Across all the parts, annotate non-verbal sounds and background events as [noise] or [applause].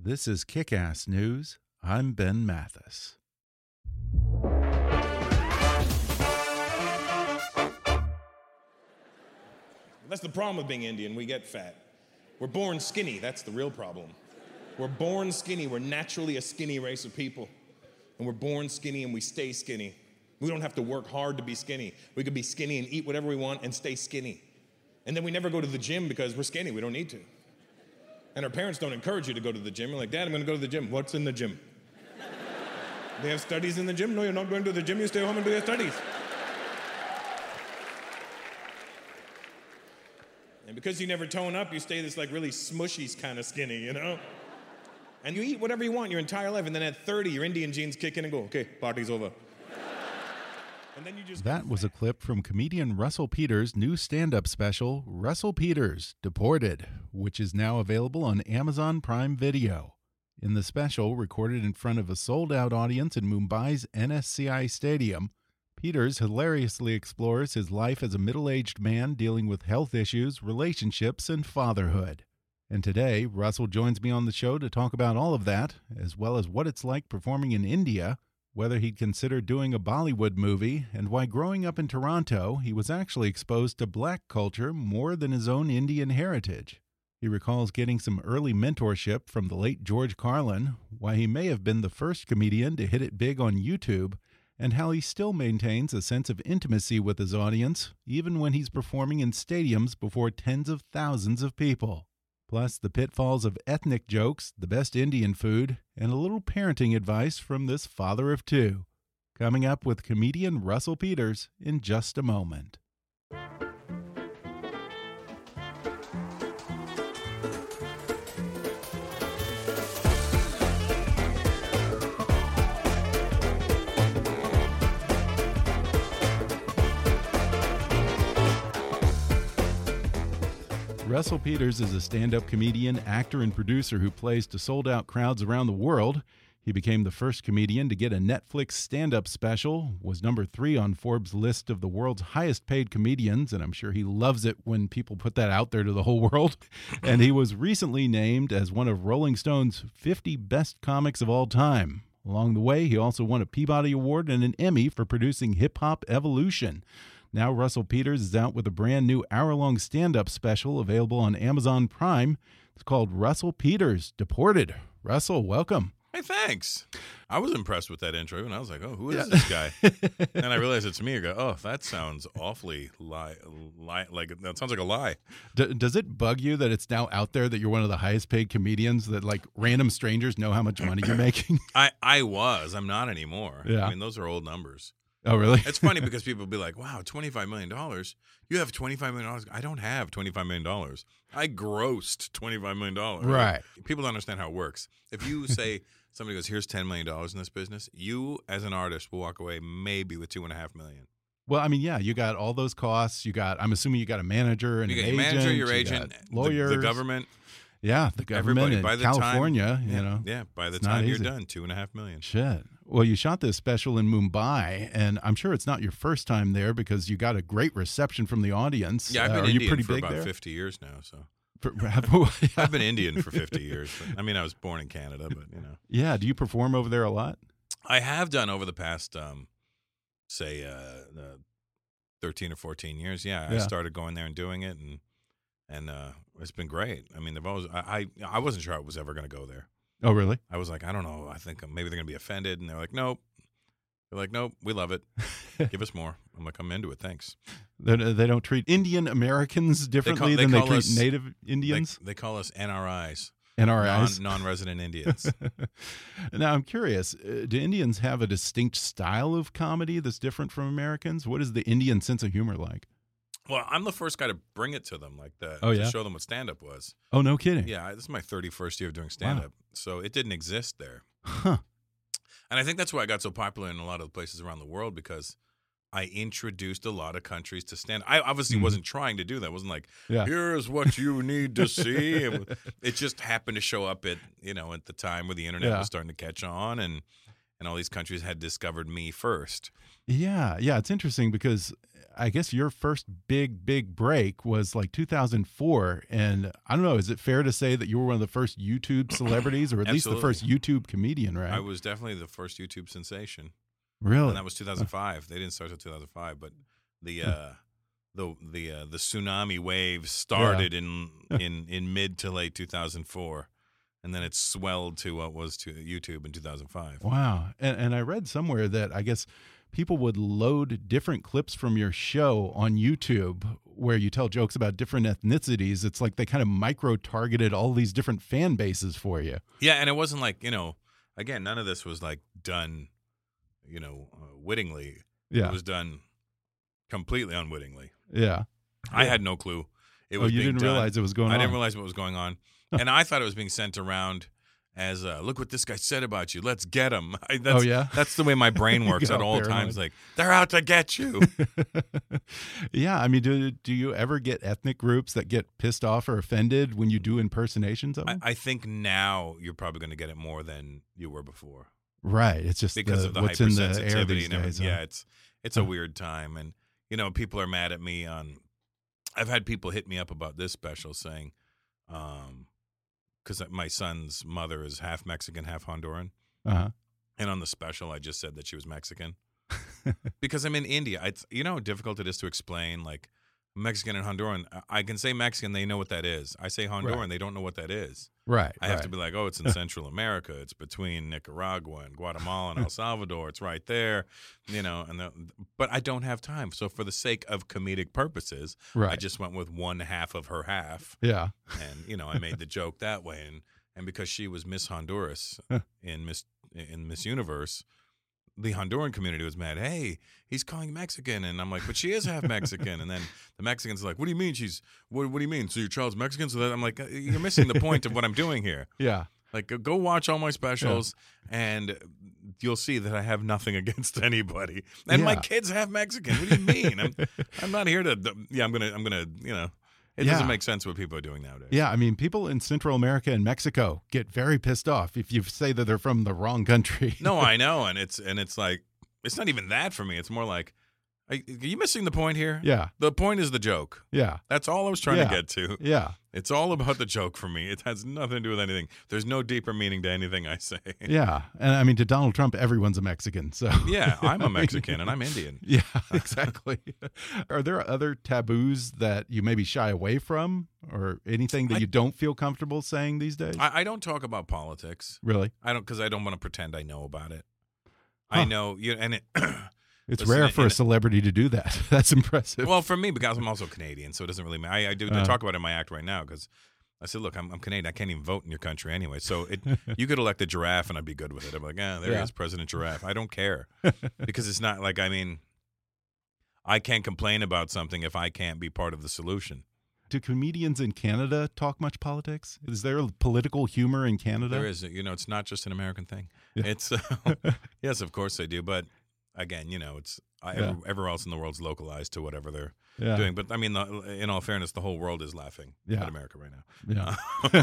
This is Kick Ass News. I'm Ben Mathis. That's the problem with being Indian. We get fat. We're born skinny. That's the real problem. We're born skinny. We're naturally a skinny race of people. And we're born skinny and we stay skinny. We don't have to work hard to be skinny. We could be skinny and eat whatever we want and stay skinny. And then we never go to the gym because we're skinny. We don't need to. And our parents don't encourage you to go to the gym. You're like, Dad, I'm going to go to the gym. What's in the gym? [laughs] they have studies in the gym? No, you're not going to the gym. You stay home and do your studies. And because you never tone up, you stay this like really smushy kind of skinny, you know? And you eat whatever you want your entire life, and then at 30, your Indian genes kick in and go, okay, party's over. [laughs] and then you just. That was a clip from comedian Russell Peters' new stand up special, Russell Peters Deported, which is now available on Amazon Prime Video. In the special, recorded in front of a sold out audience in Mumbai's NSCI Stadium, Peters hilariously explores his life as a middle aged man dealing with health issues, relationships, and fatherhood. And today, Russell joins me on the show to talk about all of that, as well as what it's like performing in India, whether he'd consider doing a Bollywood movie, and why growing up in Toronto, he was actually exposed to black culture more than his own Indian heritage. He recalls getting some early mentorship from the late George Carlin, why he may have been the first comedian to hit it big on YouTube, and how he still maintains a sense of intimacy with his audience, even when he's performing in stadiums before tens of thousands of people. Plus, the pitfalls of ethnic jokes, the best Indian food, and a little parenting advice from this father of two. Coming up with comedian Russell Peters in just a moment. Russell Peters is a stand up comedian, actor, and producer who plays to sold out crowds around the world. He became the first comedian to get a Netflix stand up special, was number three on Forbes' list of the world's highest paid comedians, and I'm sure he loves it when people put that out there to the whole world. And he was recently named as one of Rolling Stone's 50 best comics of all time. Along the way, he also won a Peabody Award and an Emmy for producing Hip Hop Evolution. Now, Russell Peters is out with a brand new hour long stand up special available on Amazon Prime. It's called Russell Peters Deported. Russell, welcome. Hey, thanks. I was impressed with that intro, and I was like, "Oh, who is this guy?" [laughs] and I realized it's me. I go, "Oh, that sounds awfully lie, lie, like that sounds like a lie." D- does it bug you that it's now out there that you're one of the highest paid comedians that like random strangers know how much money you're making? [laughs] I I was. I'm not anymore. Yeah. I mean, those are old numbers. oh, really? It's funny because people be like, "Wow, twenty five million dollars. You have twenty five million dollars. I don't have twenty five million dollars. I grossed twenty five million dollars. Right. People don't understand how it works. [laughs] If you say somebody goes, "Here's ten million dollars in this business," you as an artist will walk away maybe with two and a half million. Well, I mean, yeah, you got all those costs. You got, I'm assuming you got a manager and You an got your agent, manager, your you agent, got the- lawyers, the, government, Yeah, the government everybody. in by the California. time, you yeah, know, yeah. By the It's not time you're easy. done, two and a half million. Shit. Well, you shot this special in Mumbai, and I'm sure it's not your first time there because you got a great reception from the audience. Yeah, I've Uh, been are you Indian pretty for big about there? fifty years now. So For- [laughs] I've been Indian for fifty years. I mean, I was born in Canada, but [laughs] you know, yeah. Do you perform over there a lot? I have done over the past, um, say, uh, uh, 13 or 14 years. Yeah, I Yeah. started going there and doing it, and and uh, it's been great. I mean, they've always I I, I wasn't sure I was ever going to go there. Oh, really? I was like, I don't know. I think um, maybe they're going to be offended, and they're like, nope. They're like, nope, we love it. Give us more. I'm like, I'm into it. Thanks. [laughs] They, they don't treat Indian Americans differently they than they call treat us- Native They- Indians. They, call us NRIs, NRIs. Non, [laughs] non-resident Indians. now I'm curious: uh, Do Indians have a distinct style of comedy that's different from Americans? What is the Indian sense of humor like? well, I'm the first guy to bring it to them like that. Oh, to yeah? show them what stand-up was. Oh, no kidding. Yeah, I- this is my 31st year of doing stand up. So it didn't exist there. Huh. And I think that's why I got so popular in a lot of places around the world because I introduced a lot of countries to stand I obviously Mhm. wasn't trying to do that. It wasn't like, Yeah. here's [laughs] what you need to see. It wa- it just happened to show up at, you know, at the time where the internet Yeah. was starting to catch on and and all these countries had discovered me first. Yeah, yeah, it's interesting because I guess your first big big break was like 2004 and I don't know, is it fair to say that you were one of the first YouTube celebrities or at least the first YouTube comedian, right? I was definitely the first YouTube sensation. really? and that was 2005. They didn't start till 2005, but the uh, the the uh, the tsunami wave started in in in mid to late 2004, and then it swelled to what was to YouTube in 2005. wow. And and I read somewhere that I guess people would load different clips from your show on YouTube where you tell jokes about different ethnicities. It's like they kind of micro targeted all these different fan bases for you. Yeah, and it wasn't like you know, again, none of this was like done, you know, uh, wittingly. Yeah. It was done completely unwittingly. yeah. I had no clue. It Oh, was you being didn't done. realize it was going I on. didn't realize what was going on, and I thought it was being sent around as uh, "Look what this guy said about you. Let's get him." [laughs] I, that's, Oh, yeah? that's the way my brain You works got at all paranoid. times. Like they're out to get you. [laughs] yeah, I mean, do do you ever get ethnic groups that get pissed off or offended when you do impersonations of I, them? I think now you're probably going to get it more than you were before right, it's just because of the what's in the air hypersensitivity these and everything. days. huh? Yeah, it's it's a weird time, and you know people are mad at me on. I've had people hit me up about this special saying, um, because my son's mother is half Mexican, half Honduran. Uh-huh. And on the special, I just said that she was [laughs] Mexican because I'm in India. It's, you know how difficult it is to explain like Mexican and Honduran. I- I can say Mexican, they know what that is. I say Honduran, Right. they don't know what that is. Right, I have to be like, [laughs] oh, it's in Central America. It's between Nicaragua and [laughs] Guatemala and El Salvador. It's right there, you know. And the, but I don't have time. So for the sake of comedic purposes, I Right. just went with one half of her half yeah, and you know I made the joke that way, and and because she was Miss Honduras in Miss in Miss Universe, the Honduran community was mad. Hey, he's calling Mexican, and I'm like, but she is half Mexican, and then the Mexicans are like, what do you mean she's what What do you mean? So your child's Mexican? So that I'm like, "Uh, you're missing the point of what I'm doing here. yeah. Like, go- go watch all my specials, and you'll see that I have nothing [laughs] against anybody. And my Yeah. kids have Mexican. What do you [laughs] mean? I'm, I'm not here to. Yeah, I'm gonna. I'm gonna. You know, it Yeah. doesn't make sense what people are doing nowadays. Yeah, I mean, people in Central America and Mexico get very pissed off if you say that they're from the wrong country. [laughs] No, I know, and it's and it's like it's not even that for me. It's more like, are are you missing the point here? Yeah. The point is the joke. Yeah. That's all I was trying Yeah. to get to. Yeah. It's all about the joke for me. It has nothing to do with anything. There's no deeper meaning to anything I say. Yeah. And I mean, to Donald Trump, everyone's a Mexican. So, Yeah, [laughs] I'm a Mexican and I'm Indian. yeah, exactly. [laughs] Are there other taboos that you maybe shy away from or anything that I- you don't feel comfortable saying these days? I, I don't talk about politics. really? I don't because I don't want to pretend I know about it. Huh. I know you and it. It's Listen, rare and- for a and- celebrity to do that. [laughs] That's impressive. [clears throat] well, for me, because I'm also Canadian, so it doesn't really matter. I, I do I Uh. talk about it in my act right now because I said, look, I'm, I'm Canadian. I can't even vote in your country anyway. So it, you could elect a giraffe, and I'd be good with it. I'm like, ah, there Yeah. is President Giraffe. I don't care [laughs] because it's not like I mean, I can't complain about something if I can't be part of the solution. [laughs] do comedians in Canada talk much politics? Is there political humor in Canada? There is, you know, it's not just an American thing. Yeah. It's uh, [laughs] yes, of course they do, but again, you know, it's I, Yeah. everywhere else in the world's localized to whatever they're Yeah. doing. But I mean, the, in all fairness, the whole world is laughing Yeah. at America right now.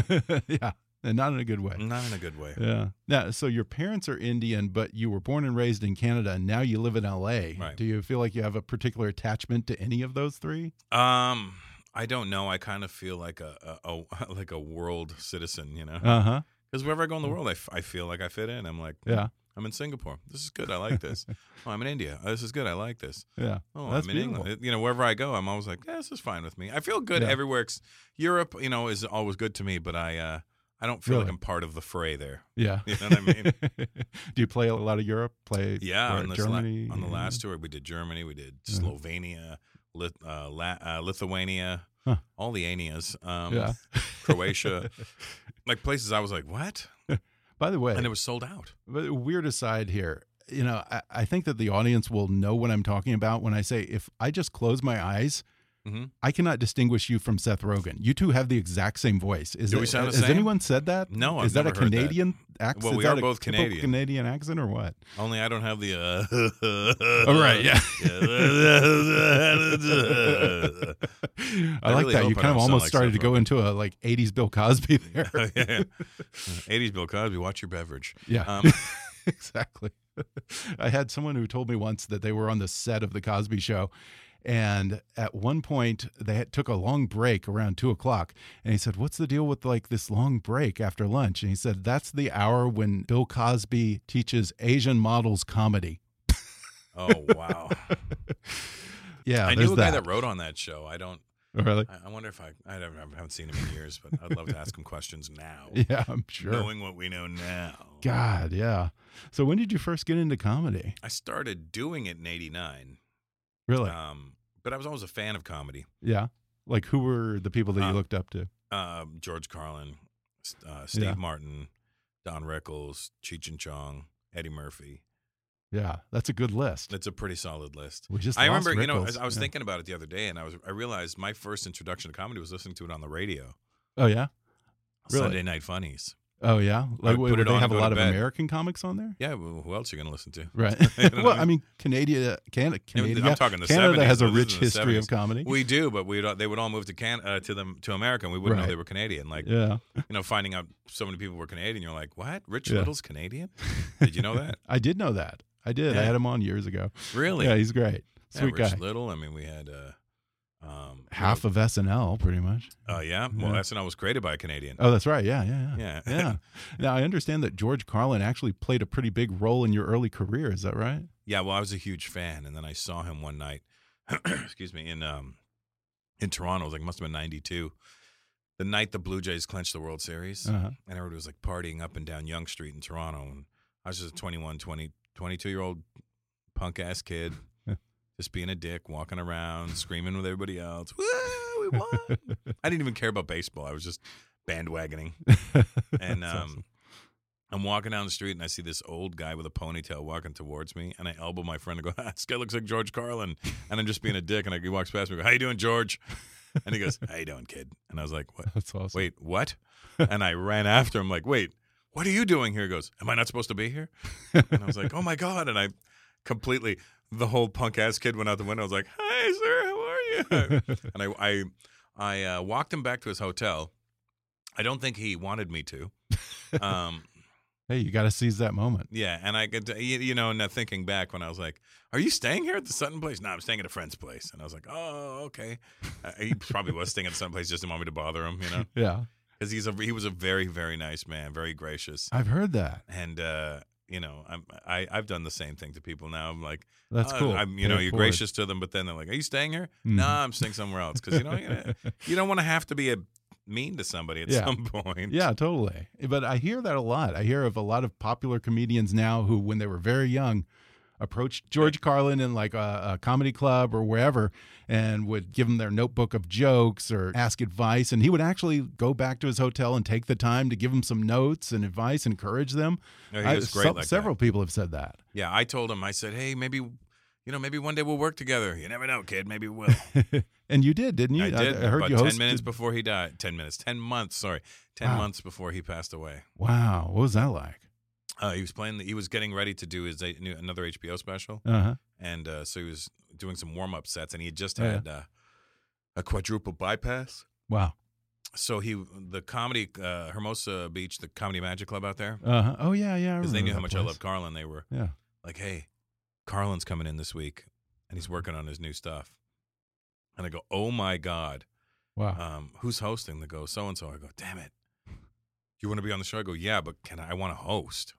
[laughs] Yeah. [laughs] yeah. And not in a good way. Not in a good way. Yeah. Now, so your parents are Indian, but you were born and raised in Canada, and now you live in LA. Right. Do you feel like you have a particular attachment to any of those three? Um, I don't know. I kind of feel like a, a, a [laughs] like a world citizen, you know, Uh huh. because wherever I go in the world, I, f- I feel like I fit in. I'm like, Mm. Yeah. I'm in Singapore. This is good. I [laughs] like this. oh, I'm in India. Oh, this is good. I like this. Yeah. Oh, that's I'm in beautiful. England. You know, wherever I go, I'm always like, yeah, this is fine with me. I feel good Yeah. everywhere. ex- Europe, you know, is always good to me, but I uh, I don't feel like Really? I'm part of the fray there. [laughs] Yeah. You know what I [laughs] mean? Do you play a lot of Europe? Play Yeah, or on this la- Germany? on the last tour, we did Germany, we did Uh-huh. Slovenia, Lit- uh, La- uh, Lithuania, Huh. all the Anias, um, Yeah. Croatia, like places I was like, what? [laughs] By the way, And it was sold out. But weird aside here, you know, I, I think that the audience will know what I'm talking about when I say if I just close my eyes, Mhm. I cannot distinguish you from Seth Rogen. You two have the exact same voice. Is Do we it- sound the Has same? anyone said that? No, I've is that a never heard that. Canadian accent? Well, we Is are that a both typical Canadian. Canadian accent or [laughs] what? Only I don't have the. Uh, All Oh, right, [laughs] yeah. I, I like really that. You hope I kind of don't sound almost like started to Seth go Rogen. into a like 80s Bill Cosby [laughs] there. [laughs] yeah. 80s Bill Cosby, watch your beverage. Yeah. [laughs] Um, exactly. [laughs] I had someone who told me once that they were on the set of The Cosby Show. And at one point, they had, took a long break around two o'clock. And he said, What's the deal with like this long break after lunch? And he said, That's the hour when Bill Cosby teaches Asian models comedy. [laughs] oh, wow. Yeah. I there's knew a that. guy that wrote on that show. I don't. [laughs] Really? I I wonder if I. I, don't, I haven't seen him in years, but I'd love to ask him questions now. [laughs] Yeah, I'm sure. Knowing what we know now. God, yeah. So when did you first get into comedy? I started doing it in '89. Really? Um, but I was always a fan of comedy. yeah. Like who were the people that you uh, looked up to? Um, George Carlin, S- uh, Steve Yeah. Martin, Don Rickles, Cheech and Chong, Eddie Murphy. Yeah, that's a good list. That's a pretty solid list. We just I lost remember, you know, Rickles. I, I was Yeah. thinking about it the other day, and I was I realized my first introduction to comedy was listening to it on the radio, Oh yeah. Really? Sunday Night Funnies. Oh yeah. Like would wait, put do it they on, have a go to lot of bed. American comics on [laughs] there? Yeah, well, who else are you going to listen to? Right. You know what well, I I mean, Canada, Canada, I'm Canada. talking the Canada 70s, has a but this rich is in the history of 70s. comedy. We do, but we they would all move to Can uh, to them to America, and we wouldn't Right. know they were Canadian. Like yeah. you know, finding out so many people were Canadian, you're like, what? Rich Yeah. Little's [laughs] Canadian? [laughs] Did you know that? I did know that. I did. I Yeah. had him on years ago. Really? Yeah, he's great. Yeah, Sweet Rich guy. Little. I mean, we had uh, um, Half you of SNL, pretty much. know, uh, yeah. Well, Yeah. SNL was created by a Canadian. Oh, that's right. Yeah, yeah, yeah. Yeah. yeah. Now I understand that George Carlin actually played a pretty big role in your early career. Is that right? Yeah, well, I was a huge fan, and then I saw him one night. [clears throat] excuse me, in um, in Toronto, it was like must have been '92, the night the Blue Jays clinched the World Series, Uh-huh. and everybody was like partying up and down Young Street in Toronto, and I was just a 21, 20, 22 year old punk ass kid, just being a dick, walking around, screaming with everybody else. Woo, we won! [laughs] I didn't even care about baseball. I was just bandwagoning [laughs] and um, That's awesome. I'm walking down the street and I see this old guy with a ponytail walking towards me, and I elbow my friend and go, [laughs] "This guy looks like George Carlin," and I'm [laughs] just being a dick, and I, he walks past me, I go, "How you doing, George?" And he goes, "How you doing, kid?" And I was [laughs] like, "What? that's awesome. Wait, what?" And I ran after him, like, "Wait, what are you doing here?" He goes, "Am I not supposed to be here?" And I was like, "Oh my god!" And I completely, the whole punk ass kid went out the window. I was like, "Hi, sir, how are you?" and I I I uh, walked him back to his hotel. I don't think he wanted me to. Um, [laughs] hey, you got to seize that moment. yeah, and I could, you, you know, now thinking back when I was like, "Are you staying here at the Sutton place?" No, I'm staying at a friend's place, and I was like, "Oh, okay." Uh, he probably was staying at the Sutton place just didn't want me to bother him, [laughs] you know, Yeah, because he's a he was a very very nice man, very gracious, I've heard that. and uh, you know, I'm I I've done the same thing to people now. I'm like, That's "Oh, cool. I'm, you know, Pay it you're forward. gracious to them, but then they're like, "Are you staying here?" Mhm. No, I'm staying somewhere else because you know you, know, you don't want to have to be a mean to somebody at Yeah. some point. Yeah, totally. But I hear that a lot. I hear of a lot of popular comedians now who, when they were very young, approached George Carlin in like a, a comedy club or wherever and would give him their notebook of jokes or ask advice. And he would actually go back to his hotel and take the time to give them some notes and advice, encourage them. [laughs] No, he I- was great some- like that. several people have said that. Yeah, I told him. I said, "Hey, maybe, you know, maybe one day we'll work together. You never know, kid. Maybe we'll." [laughs] and you did, didn't you? I did. I heard about you hosted. ten minutes before he died. Ten minutes. Ten months. Sorry, ten Wow. months before he passed away. Wow. What was that like? Uh, he was playing. The, he was getting ready to do his a- new- another HBO special, Uh huh. and uh, so he was doing some warm up sets, and he had just Yeah. had uh, a quadruple bypass. Wow. So he, the comedy uh, Hermosa Beach, the Comedy Magic Club out there, Uh huh. Oh, yeah, yeah. I because they remember knew how that much I place. loved Carlin. They were Yeah. like, hey, Carlin's coming in this week and he's working on his new stuff. And I go, oh my God, Wow. um, who's hosting? They go, so and so. I go, damn it. You want to be on the show? I go, yeah, but can I, I want to host.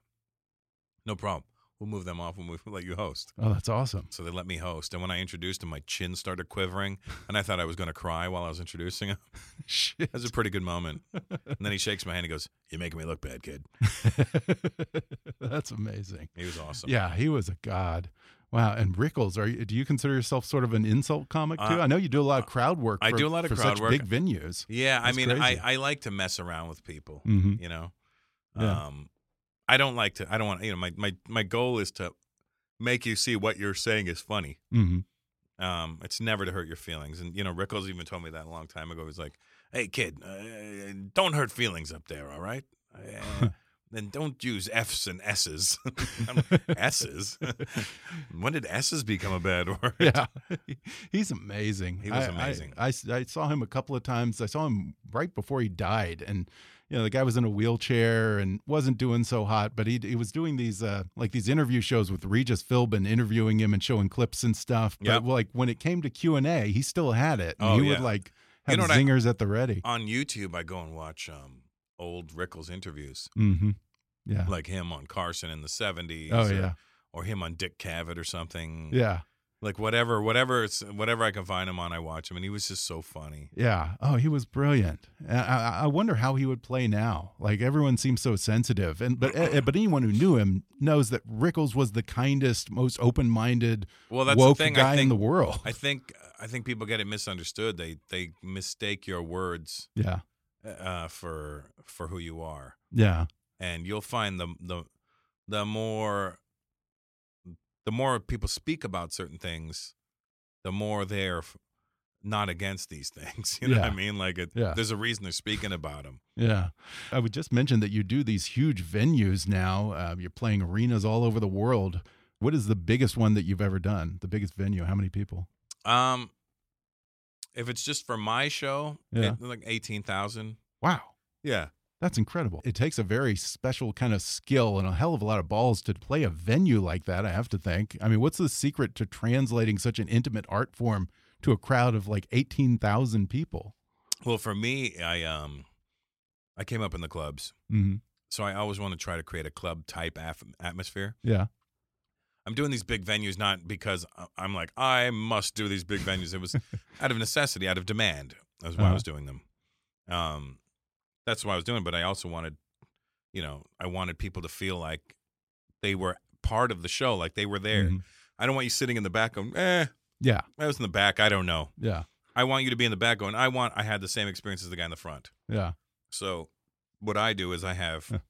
No problem. We'll move them off when we let you host. Oh, that's awesome. [laughs] So they let me host. And when I introduced him, my chin started quivering, and I thought I was going to cry while I was introducing him. Shit. It was a pretty good moment. And then he shakes my hand and goes, You're making me look bad, kid. [laughs] that's amazing. He was awesome. Yeah, he was a god. Wow. And Rickles, are you, do you consider yourself sort of an insult comic too? Uh, I know you do a lot of crowd work. I for- do a lot of for crowd such work. Big venues. Yeah, I That's mean, crazy. I, I like to mess around with people, Mhm. you know? Yeah. Um, I don't like to, I don't want, you know, my, my, my goal is to make you see what you're saying is funny. hmm Um, it's never to hurt your feelings. And, you know, Rickles even told me that a long time ago. He's like, hey, kid, uh, don't hurt feelings up there, all right? [laughs] Uh, Then don't use F's and S's. [laughs] mm-hmm. I'm [laughs] like, S's? [laughs] when did S's become a bad [laughs] word? Yeah, [laughs] he's amazing. He was I- I- amazing. I, s- I saw him a couple of times. I saw him right before he died, and you know the guy was in a wheelchair and wasn't doing so hot. But he he was doing these uh, like these interview shows with Regis Philbin, interviewing him and showing clips and stuff. But Yep. like when it came to Q and A, he still had it. And Oh, he yeah. would like You have know what I- Uh, zingers at the ready. On YouTube, I go and watch um, old Rickles interviews. Mm-hmm. Yeah. like him on Carson in the 70s. Oh or, yeah. Or him on Dick Cavett or something. Yeah. Like whatever, whatever, it's, whatever I can find him on, I watch him, and he was just so funny. Yeah. Oh, he was brilliant. And I, I- I wonder how he would play now. Like everyone seems so sensitive, and but eh, but anyone who knew him knows that Rickles was the kindest, most open-minded, Well, that's woke the thing. guy I think, in the world. I think I think people get it misunderstood. They they mistake your words [laughs] yeah. uh, for for who you are, Yeah. and you'll find the the the more the more people speak about certain things, the more they're f- not against these [laughs] things. You know what Yeah. I mean? Like it, Yeah. there's a reason they're speaking about them. Yeah. I would just mention that you do these huge venues now. Uh, you're playing arenas all over the world. What is the biggest one that you've ever done? The biggest venue? How many people? Um, if it's just for my show, Yeah. it- like eighteen thousand. Wow. Yeah, That's incredible. It takes a very special kind of skill and a hell of a lot of balls to play a venue like that, I have to think. I mean, what's the secret to translating such an intimate art form to a crowd of like 18,000 people? Well, for me, I um, I came up in the clubs, Mm-hmm. so I always want to try to create a club type af- atmosphere. Yeah. I'm doing these big venues not because I- I'm like I must do these big venues. It was out of necessity, out of demand. That's why I was doing them. Um, that's why I was doing. it, But I also wanted, you know, I wanted people to feel like they were part of the show, like they were there. Mhm. I don't want you sitting in the back going, eh, Yeah. I was in the back. I don't know. Yeah. I want you to be in the back going, I want, I had the same experience as the guy in the front. Yeah. So what I do is I Huh. have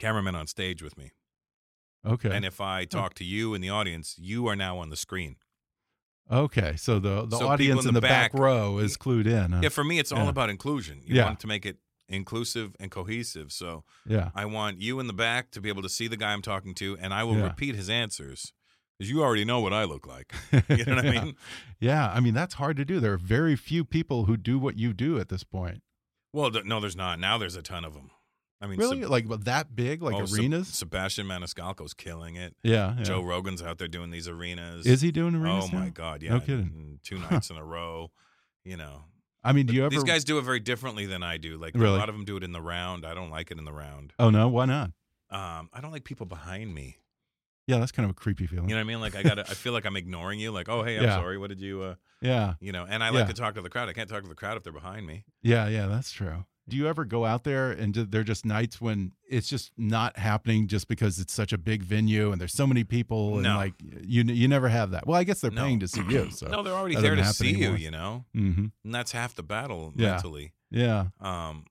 cameramen on stage with me. Okay. And if I talk to you in the audience, you are now on the screen. okay. So the, the So people audience in the, back, row is clued in. huh? Yeah, for me, it's all Yeah. about inclusion. You Yeah. want to make it inclusive and cohesive. So yeah. I want you in the back to be able to see the guy I'm talking to, and I will Yeah. repeat his answers because you already know what I [laughs] look like. [laughs] You know what I Yeah. mean? Yeah. I mean, that's hard to do. There are very few people who do what you do at this point. Well, th- no, there's not. Now there's a ton of them. I mean, Really? Seb- like but that big? Like oh, Seb- arenas? Sebastian Maniscalco's killing it. yeah, yeah. Joe Rogan's out there doing these arenas. Is he doing arenas? Oh my now? God! Yeah, No kidding. and [laughs] Two nights in a row. You know, I mean, do you ever? these guys do it very differently than I do. Like Really? a lot of them do it in the round. I don't like it in the round. Oh no, why not? Um, I don't like people behind me. Yeah, that's kind of a creepy feeling. You know what I mean? Like I got, I feel like I'm ignoring you. Like, oh hey, I'm Yeah. sorry. What did you? Uh, yeah, you know, and I like Yeah. to talk to the crowd. I can't talk to the crowd if they're behind me. yeah, yeah. That's true. Do you ever go out there and do, there are just nights when it's just not happening, just because it's such a big venue and there's so many people and No. like you you never have that. Well, I guess they're No. paying to see you, so [clears throat] no, they're already that there to doesn't see happen you. anymore. You know, Mm-hmm. and that's half the battle Yeah. mentally. Yeah, Um,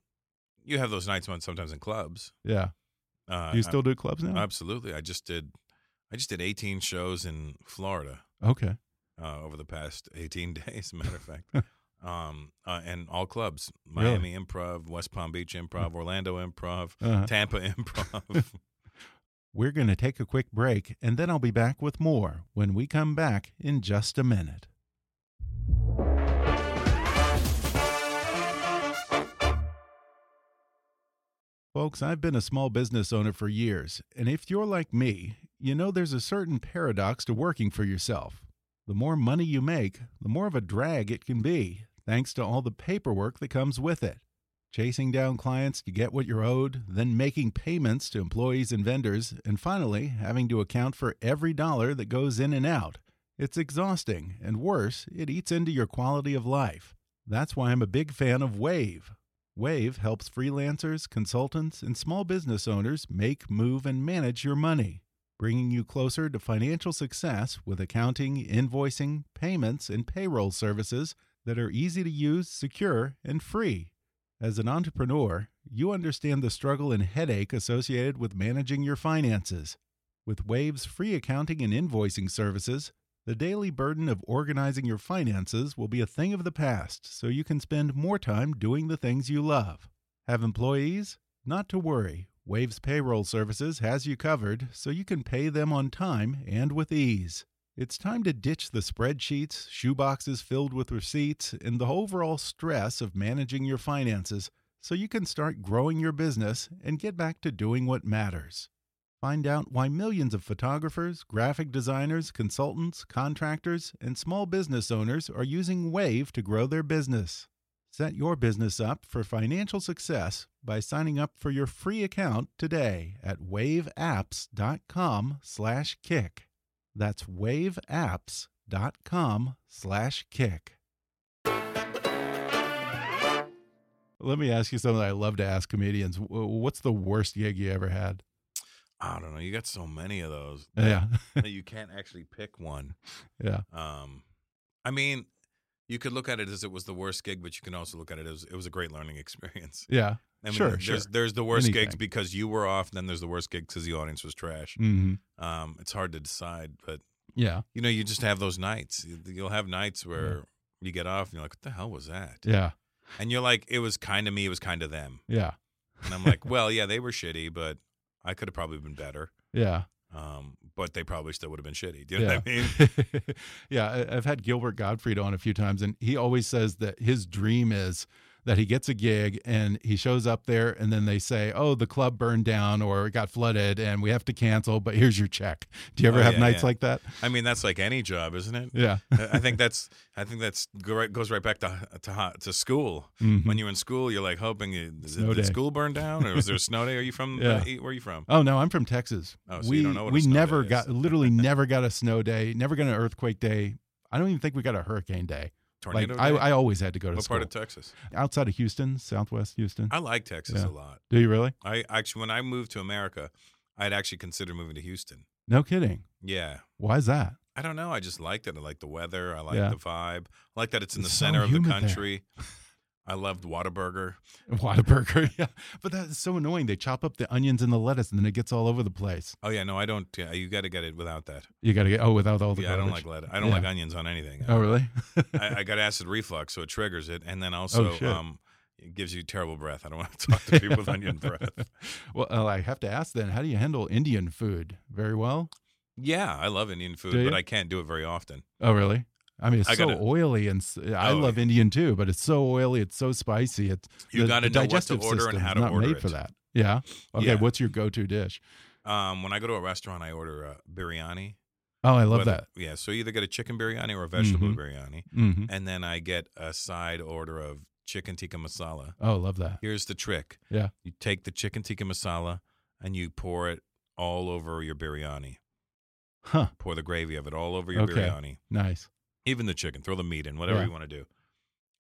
you have those nights when sometimes in clubs. yeah. Uh, Do you still do clubs now? Absolutely. I just did I just did 18 shows in Florida okay. uh, over the past [laughs] 18 days, matter of fact. [laughs] Um, uh, and all clubs, Really? Miami Improv, West Palm Beach Improv, Orlando Improv, Uh-huh. [laughs] Tampa Improv. [laughs] We're going to take a quick break and then I'll be back with more when we come back in just a minute. Folks, I've been a small business owner for years, and if you're like me, you know there's a certain paradox to working for yourself. The more money you make, the more of a drag it can be, thanks to all the paperwork that comes with it. chasing down clients to get what you're owed, then making payments to employees and vendors, and finally having to account for every dollar that goes in and out. It's exhausting, and worse, it eats into your quality of life. That's why I'm a big fan of Wave. Wave helps freelancers, consultants, and small business owners make, move, and manage your money, bringing you closer to financial success with accounting, invoicing, payments, and payroll services that are easy to use, secure, and free. As an entrepreneur, you understand the struggle and headache associated with managing your finances. With Wave's free accounting and invoicing services, the daily burden of organizing your finances will be a thing of the past so you can spend more time doing the things you love. Have employees? Not to worry. Wave's payroll services has you covered so you can pay them on time and with ease. It's time to ditch the spreadsheets, shoeboxes filled with receipts, and the overall stress of managing your finances so you can start growing your business and get back to doing what matters. Find out why millions of photographers, graphic designers, consultants, contractors, and small business owners are using Wave to grow their business. Set your business up for financial success by signing up for your free account today at waveapps.com/kick. That's waveapps.com/kick. Let me ask you something I love to ask comedians. W- What's the worst gig you ever had? I don't know. You got so many of those. Yeah. [laughs] that you can't actually pick one. [laughs] Yeah. Um, I mean, you could look at it as it was the worst gig, but you can also look at it as it was a great learning [laughs] experience. Yeah. I mean, sure. there's, sure. There's the worst gigs Anything. because you were off. Then there's the worst gig because the audience was trash. hmm Um, it's hard to decide, but Yeah. you know, you just have those nights. You- You'll have nights where you get off and you're like, "What the hell was that?" Yeah. And you're like, "It was kind of me. It was kind of them." Yeah. And I'm like, "Well, yeah, they were shitty, but I could have probably been better. Yeah. Um, but they probably still would have been shitty." Do you know yeah. what I [laughs] mean? [laughs] yeah. I- I've had Gilbert Gottfried on a few times, and he always says that his dream is that he gets a gig and he shows up there, and then they say, Oh, the club burned down or it got flooded and we have to cancel, but here's your check. Do you ever Oh, have yeah, nights yeah. like [laughs] that? I mean, that's like any job, [laughs] isn't it? Yeah. I I think that's I think that's go right, goes right back to to ho- [laughs] to school. Mhm. When you're in school, you're like hoping you, did, Snow did day. school burn down or [laughs] was there a snow day? Are you from? Yeah. uh, where are you from? Oh no, I'm from Texas. Oh, so we you don't know what a we snow never day is. got literally never got a snow day, never got an earthquake day. I don't even think we got a hurricane day. Tornado. like day? I, I always had to go to what school part of Texas? outside of Houston, Southwest Houston. I like Texas Yeah. a lot. Do you really? I actually when I moved to America, I'd actually considered moving to Houston. No kidding. Yeah. Why is that? I don't know. I just liked it. I like the weather. I like Yeah. the vibe. I like that it's in It's the so center of the humid there. country. I loved Whataburger. [laughs] Whataburger. Yeah, but that's so annoying. They chop up the onions and the lettuce, and then it gets all over the place. Oh yeah, no, I don't. Yeah, you got to get it without that. You got to get oh without all the. yeah, I don't garbage. like lettuce. I don't Yeah. like onions on anything. Oh [laughs] really? I, I got acid reflux, so it triggers it, and then also Oh, shit. um, it gives you terrible breath. I don't [laughs] want to talk to [laughs] people with onion breath. well, uh, I have to ask then. How do you handle Indian food? Very well. Yeah, I love Indian food, Do but you? I can't do it very often. Oh really? I mean, it's I so gotta- oily, and s- I Oh, love Indian too, but it's so oily, it's so spicy. It's You the- gotta the know what to digestive order and system's how to not order made for it. that. Yeah. Okay. Yeah. What's your go-to dish? Um, when I go to a restaurant, I order a biryani. Oh, I love Whether- Yeah, so you either get a chicken biryani or a vegetable biryani, that. hmm and then I get a side order of chicken tikka masala. Oh, love that. Here's the trick: Yeah. you take the chicken tikka masala and you pour it all over your biryani. Huh. Pour the gravy of it all over your Okay. biryani. Nice. even the chicken, throw the meat in, whatever Yeah. you want to do,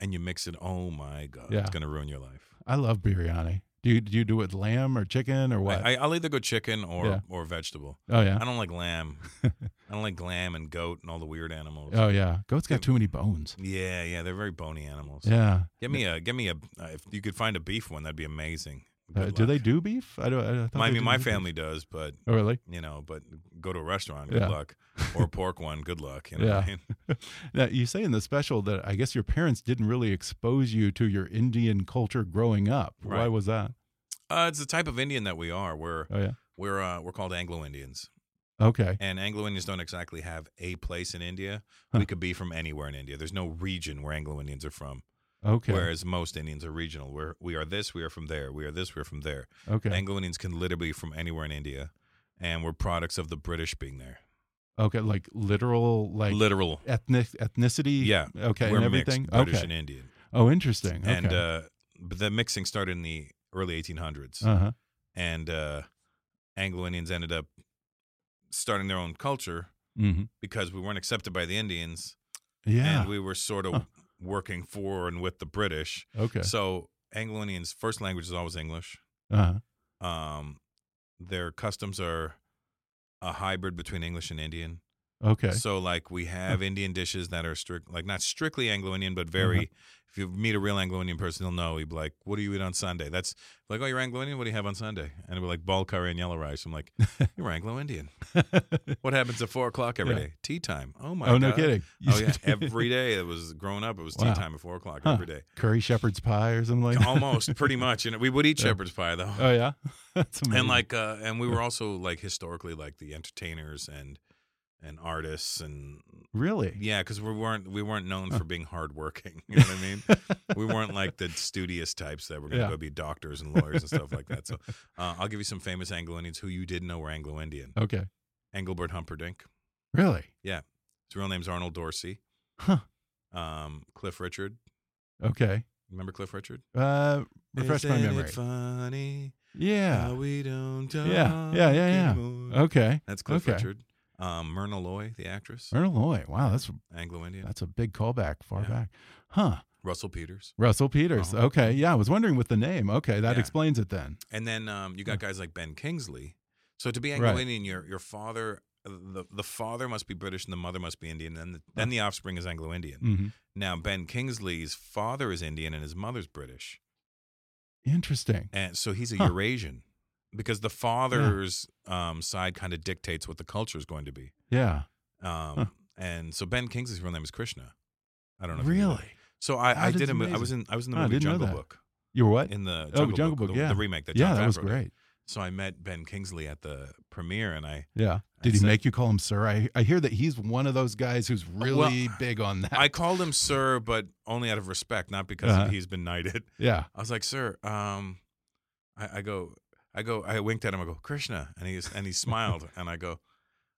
and you mix it. Oh my god, Yeah. it's gonna ruin your life. I love biryani. Do you do you do it with lamb or chicken or what? I, I, will either go chicken or Yeah. or vegetable. oh yeah. I don't like [laughs] lamb. I don't like lamb and goat and all the weird animals. Oh yeah, goats got too many bones. Yeah, yeah, they're very bony animals. Yeah. Give me a, give me a. Uh, if you could find a beef one, that'd be amazing. Uh, Good do they luck. do beef? I don't. I thought they My, I mean, didn't my do beef. family does, but Oh really? you know, but go to a restaurant, good Yeah. [laughs] luck, or a pork one, good luck. You know what I Yeah. mean? Now you say in the special that I guess your parents didn't really expose you to your Indian culture growing up. Why Right. was that? Uh, it's the type of Indian that we are. We're Oh yeah. we're uh, we're called Anglo Indians. Okay. And Anglo Indians don't exactly have a place in India. Huh. We could be from anywhere in India. There's no region where Anglo Indians are from. Okay. Whereas most Indians are regional. We're, we are this, we are from there. We are this, we are from there. okay. Anglo Indians can literally be from anywhere in India. And we're products of the British being there. okay. Like literal, like Literal. ethnic ethnicity. Yeah. Okay. We're and mixed, everything. British okay. and Indian. oh, interesting. Okay. And uh, but the mixing started in the early 1800s, Uh huh. and uh, Anglo Indians ended up starting their own culture hmm because we weren't accepted by the Indians, Yeah. and we were sort of Huh. working for and with the British. okay. So Anglo Indians' first language is always English. uh huh. Um, their customs are a hybrid between English and Indian. Okay. [laughs] So like we have Indian dishes that are strict, like not strictly Anglo Indian, but Uh-huh. very. If you meet a real Anglo Indian person, they'll know. He'd be like, "What do you eat on Sunday?" That's like, "Oh, you're Anglo Indian. What do you have on Sunday?" And we're like, "Ball curry and yellow rice." I'm [laughs] like, "You're Anglo Indian. What happens at four o'clock every day? Yeah. Tea time. Oh my. oh no, God. kidding. [laughs] Oh yeah, every day. It was growing up. It was Wow. tea time at four o'clock Huh. every day. [laughs] curry shepherd's pie or something like [laughs] that. Almost, pretty much. And we would eat shepherd's pie though. Oh yeah. [laughs] That's amazing. and like uh and we were also like historically like the entertainers and and artists and really. yeah because we weren't we weren't known for being hardworking [laughs] you know what i mean we [laughs] weren't like the studious types that were going to Yeah. go be doctors and lawyers and stuff like that so uh, i'll give you some famous anglo-indians who you didn't know were anglo-indian Okay. engelbert humperdinck Really. his real name's arnold dorsey Huh. um, cliff richard Okay. remember cliff richard Uh, refresh my Isn't it memory. funny how Yeah. we don't Yeah. Yeah. talk Yeah. anymore? Yeah. Okay. That's Cliff Okay. Richard. Um, Myrna Loy, the actress, Colonel Loy. Wow. That's Anglo Indian. that's a big callback far Yeah. back. Huh. Russell Peters. Russell Peters. Uh-huh. Okay. Yeah. I was wondering with the name. Okay. That Yeah. explains it then. And then um, you got guys like Ben Kingsley. So to be Hmm. Right. Anglo Indian, your your father, uh, the the father must be British and the mother must be Indian. Then the, then the offspring is Anglo Indian. hmm Now Ben Kingsley's father is Indian and his mother's British, Interesting. and so he's a Huh. Eurasian because the father's um, side kind of dictates what the culture is going to be. Yeah. Um, Huh. And so Ben Kingsley's real name is Krishna. I don't know. if you knew that. Really. So I, I That did is a mo- I amazing. was in I was in the Huh, I movie didn't know Jungle that. Book. You were what? in the Oh, Jungle, Jungle Book, Book, the, yeah. the remake that yeah. John That was Favreau did. great. So I met Ben Kingsley at the premiere, and [laughs] I Yeah. And Did he so- make you call him sir? I, I hear that he's one of those guys who's really big on that. I called him sir, but only out of respect, not because Uh-huh. he's been knighted. [laughs] yeah. [laughs] I was like, sir, um, I, I go, I go, I winked at him. I go, Krishna, and he's and he [laughs] smiled, and I go,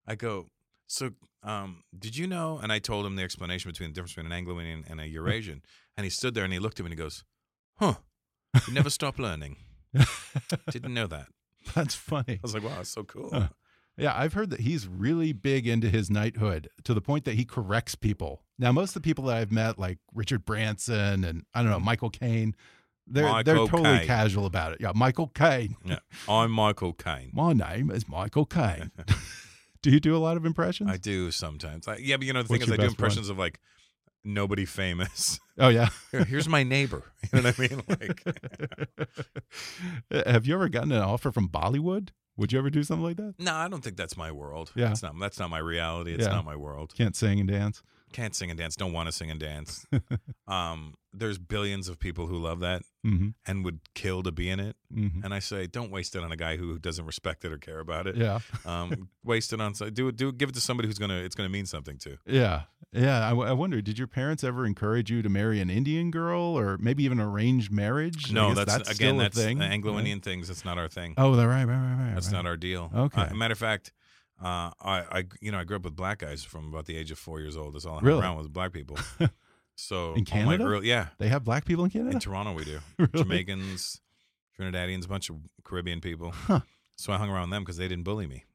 I go, so um, did you know? And I told him the explanation between the difference between an Anglo Indian and a [laughs] Eurasian, and he stood there and he looked at me and he goes, huh, you [laughs] never stop learning. Didn't know that. That's funny. I was like, wow, that's so cool. Huh. Yeah, I've heard that he's really big into his knighthood to the point that he corrects people. Now, most of the people that I've met, like Richard Branson and I don't know Michael Caine, they're they're Michael totally Caine. casual about it. Yeah, Michael Caine. Yeah. [laughs] I'm Michael Caine. My name is Michael [laughs] Caine. [laughs] do you do a lot of impressions? I do sometimes. I, yeah, but you know, the What's thing is, your I do best one? impressions of like nobody famous. [laughs] oh yeah. Here- Here's my neighbor. [laughs] You know what I mean? Like, [laughs] Have you ever gotten an offer from Bollywood? Would you ever do something like that? [laughs] no, I don't think that's my world. Yeah. It's not, that's not my reality. It's Yeah. not my world. Can't sing and dance. Can't sing and dance. Don't want to sing [laughs] and dance. um, there's billions of people who love that hmm and would kill to be in it. hmm And I say, don't waste it on a guy who doesn't respect it or care about it. Yeah. [laughs] Um, waste it on so- do it. Do it- give it to somebody who's gonna. It's gonna mean something to. Yeah. Yeah. I, w- I wonder, did your parents ever encourage you to marry an Indian girl or maybe even arrange marriage? I No, guess that's, again still that's a thing. Anglo right? Indian things. That's not our thing. Oh, they're right, right, right, right. That's right. not our deal. Okay. Uh, matter of fact, uh, I, I, you know, I grew up with black guys from about the age of four years old. That's all I hung Really? around with [laughs] black people. So In all my Canada? real- yeah, They have black people in in Canada? Toronto we do [laughs] Really? Jamaicans, Trinidadians, a bunch of Caribbean people. Huh. So I hung around them because they didn't bully me.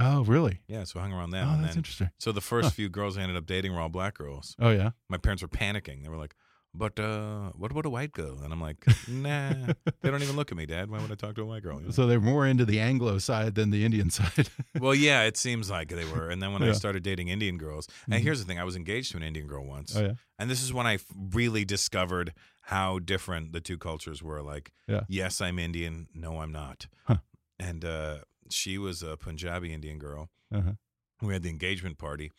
Oh, really? Yeah, so I hung around them. Oh, and that's then, interesting. so the first Huh. few girls I ended up dating were all black girls. Oh, yeah. My parents were panicking. They were like, "But uh, what about a white girl?" And I'm like, "Nah, they don't even look at me, Dad. Why would I talk to a white girl?" You [laughs] know? So they're more into the Anglo side than the Indian [laughs] side. Well, yeah, it seems like they were. And then when I Yeah. started dating Indian girls, and Mhm. here's the thing: I was engaged to an Indian girl once, oh, yeah. [laughs] and this is when I f- really discovered how different the two cultures were. Like, Yeah. yes, I'm Indian. No, I'm not. Huh. And uh, she was a Punjabi Indian girl. Uh-huh. We had the engagement party,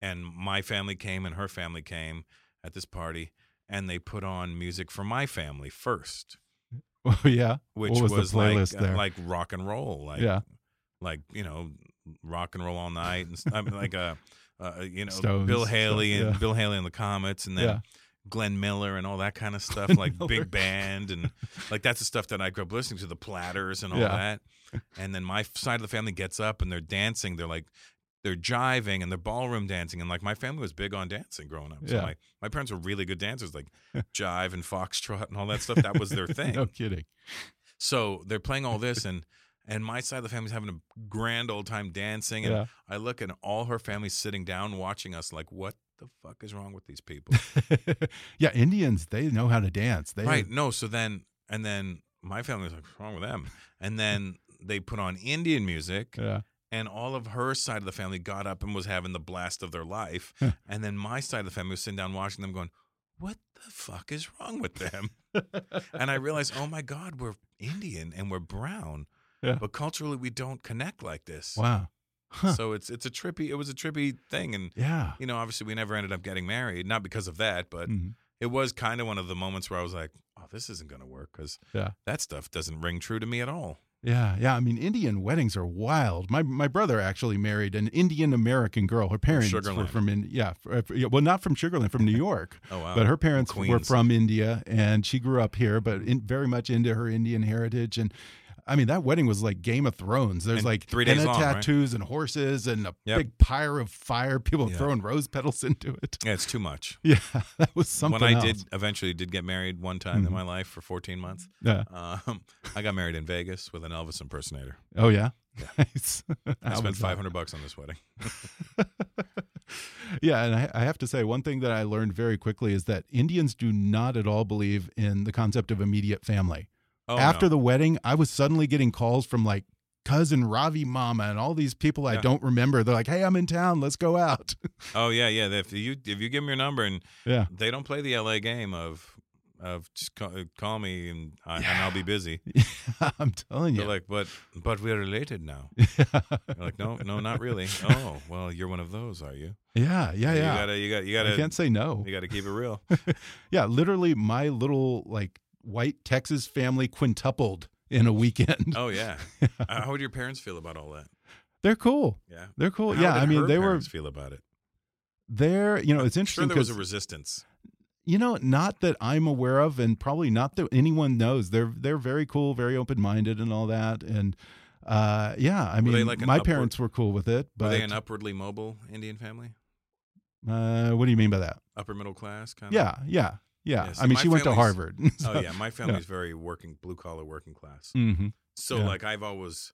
and my family came, and her family came at this party, and they put on music for my family first, Oh, yeah. which what was, the playlist like there? like rock and roll, like yeah. like you know rock and roll all night and st- I mean, like uh, [laughs] uh you know Stones, Bill stuff, Haley and yeah. Bill Haley and the Comets and then Yeah. Glenn Miller and all that [laughs] kind of stuff Glenn like Miller. big band and like that's the stuff that I grew up listening to the Platters and all Yeah. that and then my f- side of the family gets up and they're dancing they're like they're they're jiving and they're ballroom dancing. And like my family was big on dancing growing up. So Yeah. my, my parents were really good [laughs] dancers, like jive and foxtrot and all that stuff. That was their thing. no kidding. So they're playing [laughs] all this and and my side of the family's having a grand old time dancing and Yeah. I look and all her family's sitting down watching us like what the fuck is wrong with these people? yeah, Indians, they know how to dance. [laughs] They right. No, so then and then my family's like what's wrong with them? And then they put on Indian music [laughs] Yeah. and all of her side of the family got up and was having the blast of [laughs] their life. and then my side of the family was sitting down watching them going, What the fuck is wrong with them? and I realized, oh my God, we're Indian and we're brown. Yeah. But culturally we don't connect like [laughs] this. Wow. Huh. So it's it's a trippy it was a trippy thing. And yeah. you know, obviously we never ended up getting married, not because of that, but Mhm. it was kind of one of the moments where I was like, Oh, this isn't gonna work because Yeah. that stuff doesn't ring true to me at all. Yeah, yeah. I mean, Indian weddings are wild. My my brother actually married an Indian American girl. Her parents were Sugarland. from in, yeah, fr- fr- yeah, well, not from Sugarland, [laughs] from New York. Oh, wow. But her parents were Queens. from India, and she grew up here, but in, very much into her Indian heritage. And I mean, that wedding was like Game of Thrones. There's And like three days henna long, right? tattoos and horses and a Yep. big pyre of fire. People Yeah. throwing rose petals [laughs] into it. Yeah, it's too much. Yeah, [laughs] that was something. when I else. did eventually did get married one time Mhm. in my life for 14 months, Yeah. um, I got married in Vegas with an Elvis impersonator. Oh yeah. [laughs] Nice. I How spent was that? 500 bucks on this wedding. [laughs] Yeah, and I, I have to say, one thing that I learned very quickly is that Indians do not at all believe in the concept of immediate family. Oh, After no. the wedding, I was suddenly getting calls from like cousin Ravi Mama and all these people I Yeah. don't remember. They're like, "Hey, I'm in town. Let's go [laughs] out." oh yeah, yeah. If you if you give them your number and yeah, they don't play the LA game of of just call, call me and, I, and I'll [laughs] be busy. [laughs] I'm telling you. They're like, but but we're related now. You're [laughs] like, no, no, not really. Oh, well, you're one of those, are you? yeah, yeah, You yeah. gotta, you gotta, you I can't gotta, say no. you gotta keep [laughs] it real. Yeah, literally, my little like white Texas family quintupled in a weekend. [laughs] Oh yeah. Uh, How would your parents feel about all that? They're cool. Yeah. They're cool. How yeah, did I mean, her they were parents feel about it. there. You know, it's Sure, interesting there was because a resistance. You know, not that I'm aware of, and probably not that anyone knows. They're they're very cool, very open minded, and all that. And uh, yeah, I Were mean, they like an my upward- parents were cool with it. But Were they an upwardly mobile Indian family? uh, what do you mean by that? Upper middle class kind Yeah, yeah, yeah. Yeah, see, I mean, my she went to family's- Harvard. of? [laughs] [laughs] Oh yeah, my family's very working blue collar working class. hmm So Yeah. like I've always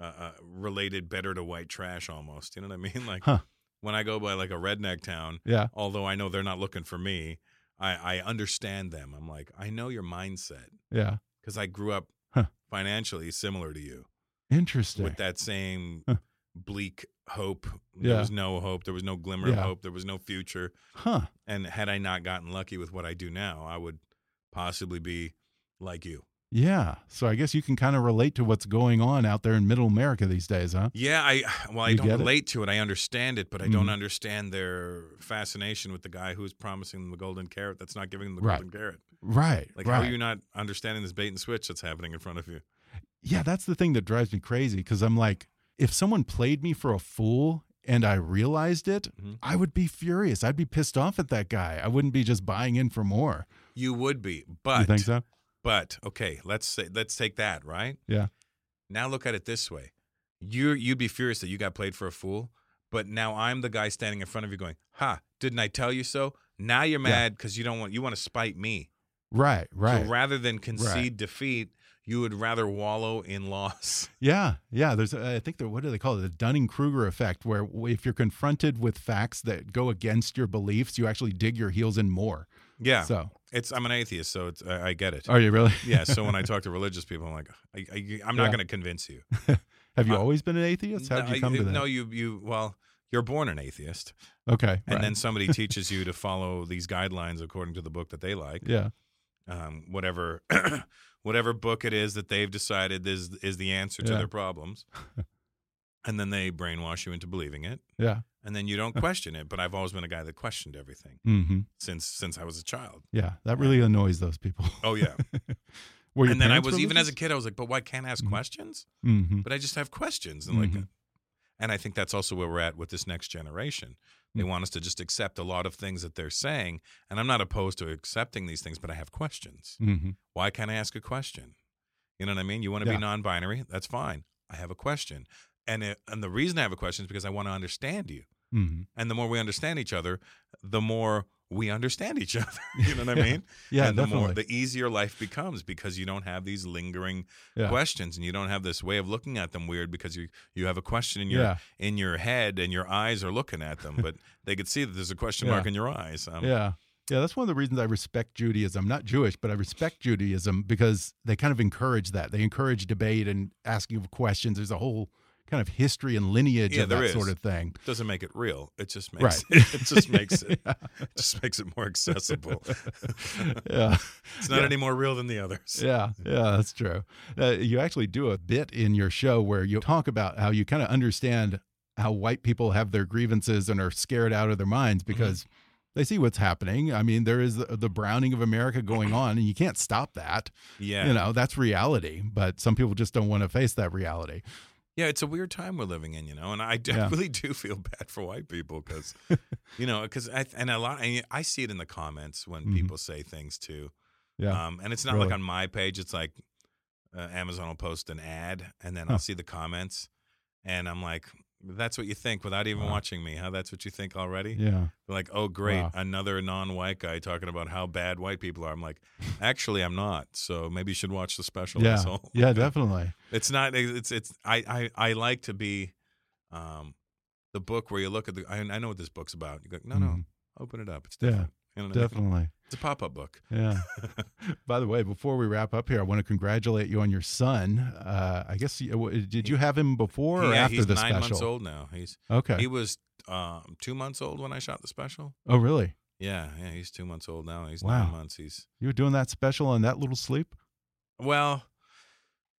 uh, uh, related better to white trash almost. You know what I mean? [laughs] Like Huh. when I go by like a redneck town, Yeah, although I know they're not looking for me, I, I understand them. I'm like, I know your mindset yeah. because I grew up Huh. financially similar to you Interesting. with that same Huh. bleak hope. There Yeah. was no hope. There was no glimmer of Yeah. hope. There was no future. Huh? And had I not gotten lucky with what I do now, I would possibly be like you. Yeah. So I guess you can kind of relate to what's going on out there in Middle America these days, huh? Yeah, I [sighs] well, I You don't get it? relate to it. I understand it, but I don't Mhm. understand their fascination with the guy who's promising them the golden carrot that's not giving them the Right. golden carrot. Right. Like, right. how are you not understanding this bait and switch that's happening in front of you? Yeah, that's the thing that drives me crazy because I'm like, if someone played me for a fool and I realized it, Mhm. I would be furious. I'd be pissed off at that guy. I wouldn't be just buying in for more. You would be, you but think so? but okay, let's say let's take that right. Yeah. Now look at it this way: you you'd be furious that you got played for a fool, but now I'm the guy standing in front of you going, "Ha! Didn't I tell you so?" Now you're Yeah. mad because you don't want you want to spite me. Right, right. So rather than concede defeat, you would rather wallow in loss. [laughs] yeah, yeah. There's, uh, I think, the, what do they call it? The Dunning Kruger effect, where w- if you're confronted with facts that go against your beliefs, you actually dig your heels in more. Yeah. So, Oh. it's I'm an atheist, so it's I, I get it. are you really? [laughs] yeah. So [laughs] when I talk to religious people, I'm like, I, I, I'm not Yeah. going to convince you. Have you Uh, always been an atheist? How did no, you come to that? No, you you well, you're born an atheist. okay. and right. then somebody teaches you to follow these guidelines according to the book that they like yeah, um, whatever [clears throat] whatever book it is that they've decided is is the answer to Yeah. their problems [laughs] and then they brainwash you into believing it yeah. and then you don't question it but i've always been a guy that questioned everything hmm since since i was a child Yeah. That really annoys those people. [laughs] oh yeah [laughs] Were your and then i parents was even as a religious? kid i was like but why can't I ask Mhm. questions Mhm. but i just have questions and like Mhm. and i think that's also where we're at with this next generation they Mm. want us to just accept a lot of things that they're saying and i'm not opposed to accepting these things but i have questions Mm-hmm. Why can't I ask a question? You know what I mean? You want to Yeah. be non binary? That's fine. I have a question. And it, and the reason I have a question is because I want to understand you. hmm And the more we understand each other, the more we understand each [laughs] other. you know what I mean? Yeah, and the definitely. more the easier life becomes because you don't have these lingering Yeah. questions and you don't have this way of looking at them weird because you you have a question in your Yeah. in your head and your eyes are looking at them, [laughs] but they could see that there's a question mark Yeah. in your eyes. Um, yeah. Yeah, that's one of the reasons I respect Judaism. I'm not Jewish, but I respect Judaism because they kind of encourage that. They encourage debate and asking of questions. There's a whole kind of history and lineage Yeah, of there that is. sort of thing. Doesn't make it real. It just makes Right. [laughs] it [laughs] just makes it just makes it more accessible. [laughs] [laughs] Yeah. It's not any more real than the others. Yeah, yeah, that's true. Uh, you actually do a bit in your show where you talk about how you kind of understand how white people have their grievances and are scared out of their minds Mm-hmm. because they see what's happening. I mean, there is the, the browning of America [clears throat] going on, and you can't stop that. Yeah. You know, that's reality, but some people just don't want to face that reality. Yeah, it's a weird time we're living in, you know, and I d- Yeah. really do feel [laughs] bad for white people [laughs] because, you know, because I and a lot and I see it in the comments when Mhm. people say things too, Yeah. um, and it's not Really. like on my page. It's like uh, Amazon will post an ad, and then Huh. I'll see the comments, and I'm like, "That's what you think," without even Wow. watching me. How that's what you think already? yeah. Like, oh, great, Wow. another non-white guy talking about how bad white people are. I'm like, actually, I'm not. So maybe you should watch the special. Yeah. asshole." [laughs] Yeah, definitely. It's not. It's it's. I I I like to be, um, the book where you look at the. I, I know what this book's about. You go, no, no, Mhm. open it up. It's Yeah, different. You know what I mean? Definitely. It's a pop-up book. [laughs] Yeah. By the way, before we wrap up here, I want to congratulate you on your son. Uh, I guess you- did you have him before or yeah, after he's the nine special? months old now. He's Okay. he was um two months old when I shot the special. Oh, really? Yeah, yeah, he's two months old now. He's Wow. nine months. He's You were doing that special on that little sleep? well,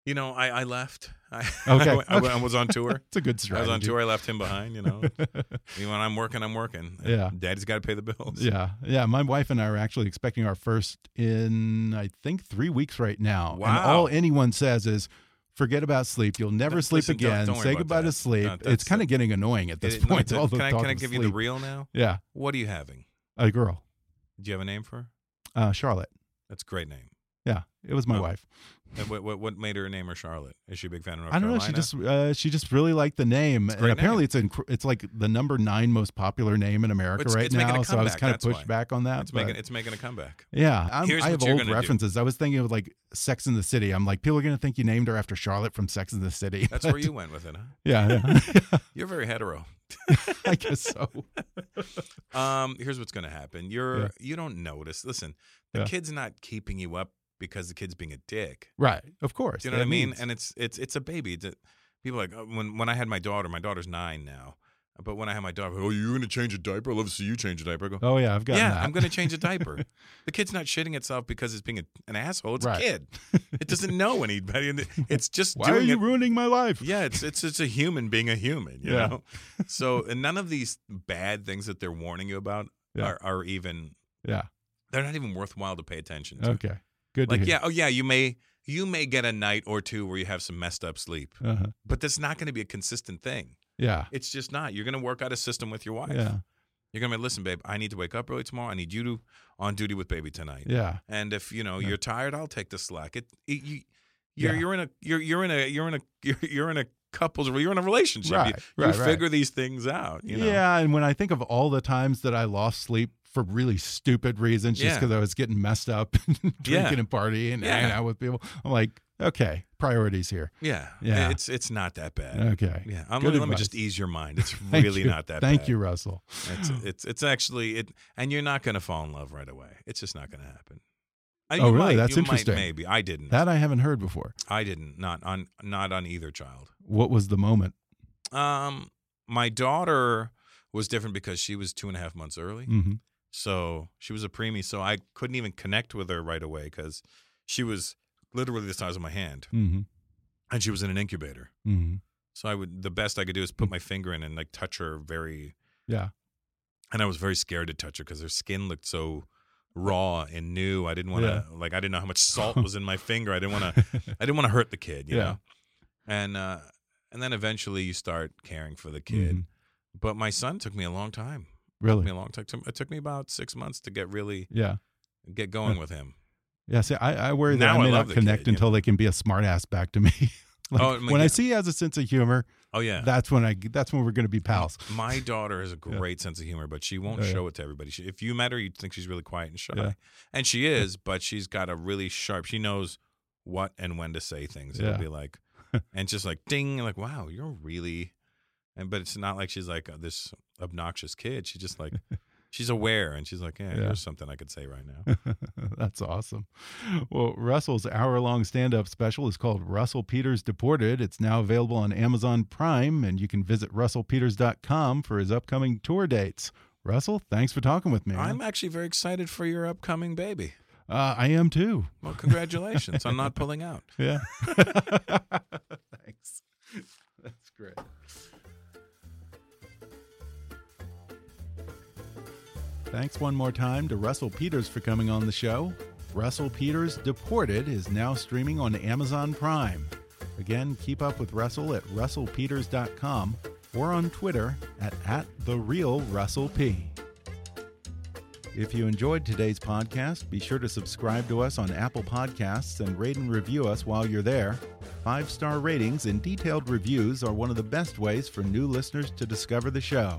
you know, I I left. [laughs] I, Okay. I, went- I went- I was [laughs] [laughs] on tour. It's a good I was strategy. on tour. I left him behind. [laughs] You know, You know, when I'm working, I'm working. Yeah. daddy's got to pay the bills. yeah, yeah. My wife and I are actually expecting our first in, I think, three weeks right now. And Wow. all anyone says is, "Forget about sleep. You'll never No, sleep listen, don't- again. don't worry Say about goodbye to that. sleep." No, it's that's- kind of getting annoying at this It- no, point. it- all the can I, talk can I of give sleep. you the real now? Yeah, What are you having? a girl, Do you have a name for her? uh, Charlotte. That's a great name. Yeah, it was my Oh, wife. And what, what what made her name her Charlotte? Is she a big fan of North I don't know. Carolina? She just uh, she just really liked the name, a and great apparently name. it's in, it's like the number nine most popular name in America It's- right it's making a now. So I was comeback, kind of that's why. pushed back on that. it's making but- it's making a comeback. Yeah, I'm, Here's I what have you're old gonna do. references. I was thinking of like Sex in the City. I'm like, people are gonna think you named her after Charlotte from Sex in the City. [laughs] That's where you went with it, huh? yeah, [laughs] yeah. You're very hetero. I guess so. Um, here's what's gonna happen. You're Yeah. you don't notice. Listen, the Yeah. kid's not keeping you up because the kid's being a dick. Right, of course. Do you know That what I mean? means- And it's it's it's a baby. It's a- people are like oh, when when I had my daughter. My daughter's nine now. But when I had my daughter, oh, you're gonna change a diaper. I love to see you change a diaper. I go, oh yeah, I've got. yeah, that. I'm going [laughs] to change a diaper. the kid's not shitting itself because it's being a, an asshole. It's Right. a kid. It doesn't know anybody. and It's [laughs] just Why are doing you it. ruining my life? yeah, it's it's it's a human being a human, you Yeah. know. So, and none of these bad things that they're warning you about Yeah. are, are even Yeah. they're not even worthwhile to pay attention [laughs] to. Okay. Good. Like, to yeah, hear. oh yeah, you may you may get a night or two where you have some messed up sleep, Yeah. Uh-huh. but that's not going to be a consistent thing. Yeah. It's just not. You're going to work out a system with your wife. Yeah. You're going to be, listen, babe, I need to wake up early tomorrow. I need you to on duty with baby tonight. Yeah. And if you know Yeah. you're tired, I'll take the slack. It, it you, you're Yeah. you're in a you're you're in a you're in a [laughs] you're, you're in a couples you're in a relationship. You- Right, you right, right. figure these things out. You know? Yeah. And when I think of all the times that I lost sleep for really stupid reasons, just Yeah. because I was getting messed up, [laughs] and drinking Yeah. and partying and hanging Yeah. out with people, I'm like, okay, priorities here. yeah, Yeah. It's it's not that bad. Okay. Yeah, I'm, Good let, me advice. just ease your mind. [laughs] It's Thank really you. not that. Thank bad. you, Russell. [sighs] It's it's it's actually it, and you're not going to fall in love right away. It's just not going to happen. I- Oh, you really? might- That's you interesting. Might, maybe I [gasps] didn't. That I haven't heard before. I didn't. Not on not on either child. What was the moment? Um, my daughter was different because she was two and a half months early. hmm So she was a preemie, so I couldn't even connect with her right away because she was literally the size of my hand, hmm and she was in an incubator. hmm So I would the best I could do is put my finger in and like touch her very, Yeah. and I was very scared to touch her because her skin looked so raw and new. I didn't want to like I didn't know how much salt was in my finger. I didn't want to I didn't want to hurt the kid, you Yeah. know. And uh, and then eventually you start caring for the kid. Mhm. But my son took me a long time. Took me [laughs] Really? a long time. It took me about six months to get really Yeah. get going with him. Yeah. See, I, I worry that Now I I may not love the connect kid, you until they can be a smartass back to me. [laughs] Like, Oh, my when I God. see he has a sense of humor, Oh yeah. that's when I that's when we're gonna be pals. [laughs] My daughter has a great sense of humor, but she won't Oh, yeah. show it to everybody. She, if you met her, you'd think she's really quiet and shy. Yeah. And she is, but she's got a really sharp, she knows what and when to say things. Yeah. It'll [laughs] be like, and just like ding, like, wow, you're really. And but it's not like she's like uh, this obnoxious kid. [laughs] She just like, she's aware and she's like, yeah, Yeah. there's something I could say right [laughs] now. That's awesome. Well, Russell's hour long stand up special is called Russell Peters Deported. It's now available on Amazon Prime, and you can visit russellpeters.com for his upcoming tour dates. Russell, thanks for talking with me. I'm man. actually very excited for your upcoming baby. uh, I am too. Well, congratulations on not pulling out. Yeah. [laughs] thanks. That's great. Thanks one more time to Russell Peters for coming on the show. Russell Peters Deported is now streaming on Amazon Prime. Again, keep up with Russell at russellpeters.com or on Twitter at, at the real Russell P. If you enjoyed today's podcast, be sure to subscribe to us on Apple Podcasts and rate and review us while you're there. Five star ratings and detailed reviews are one of the best ways for new listeners to discover the show.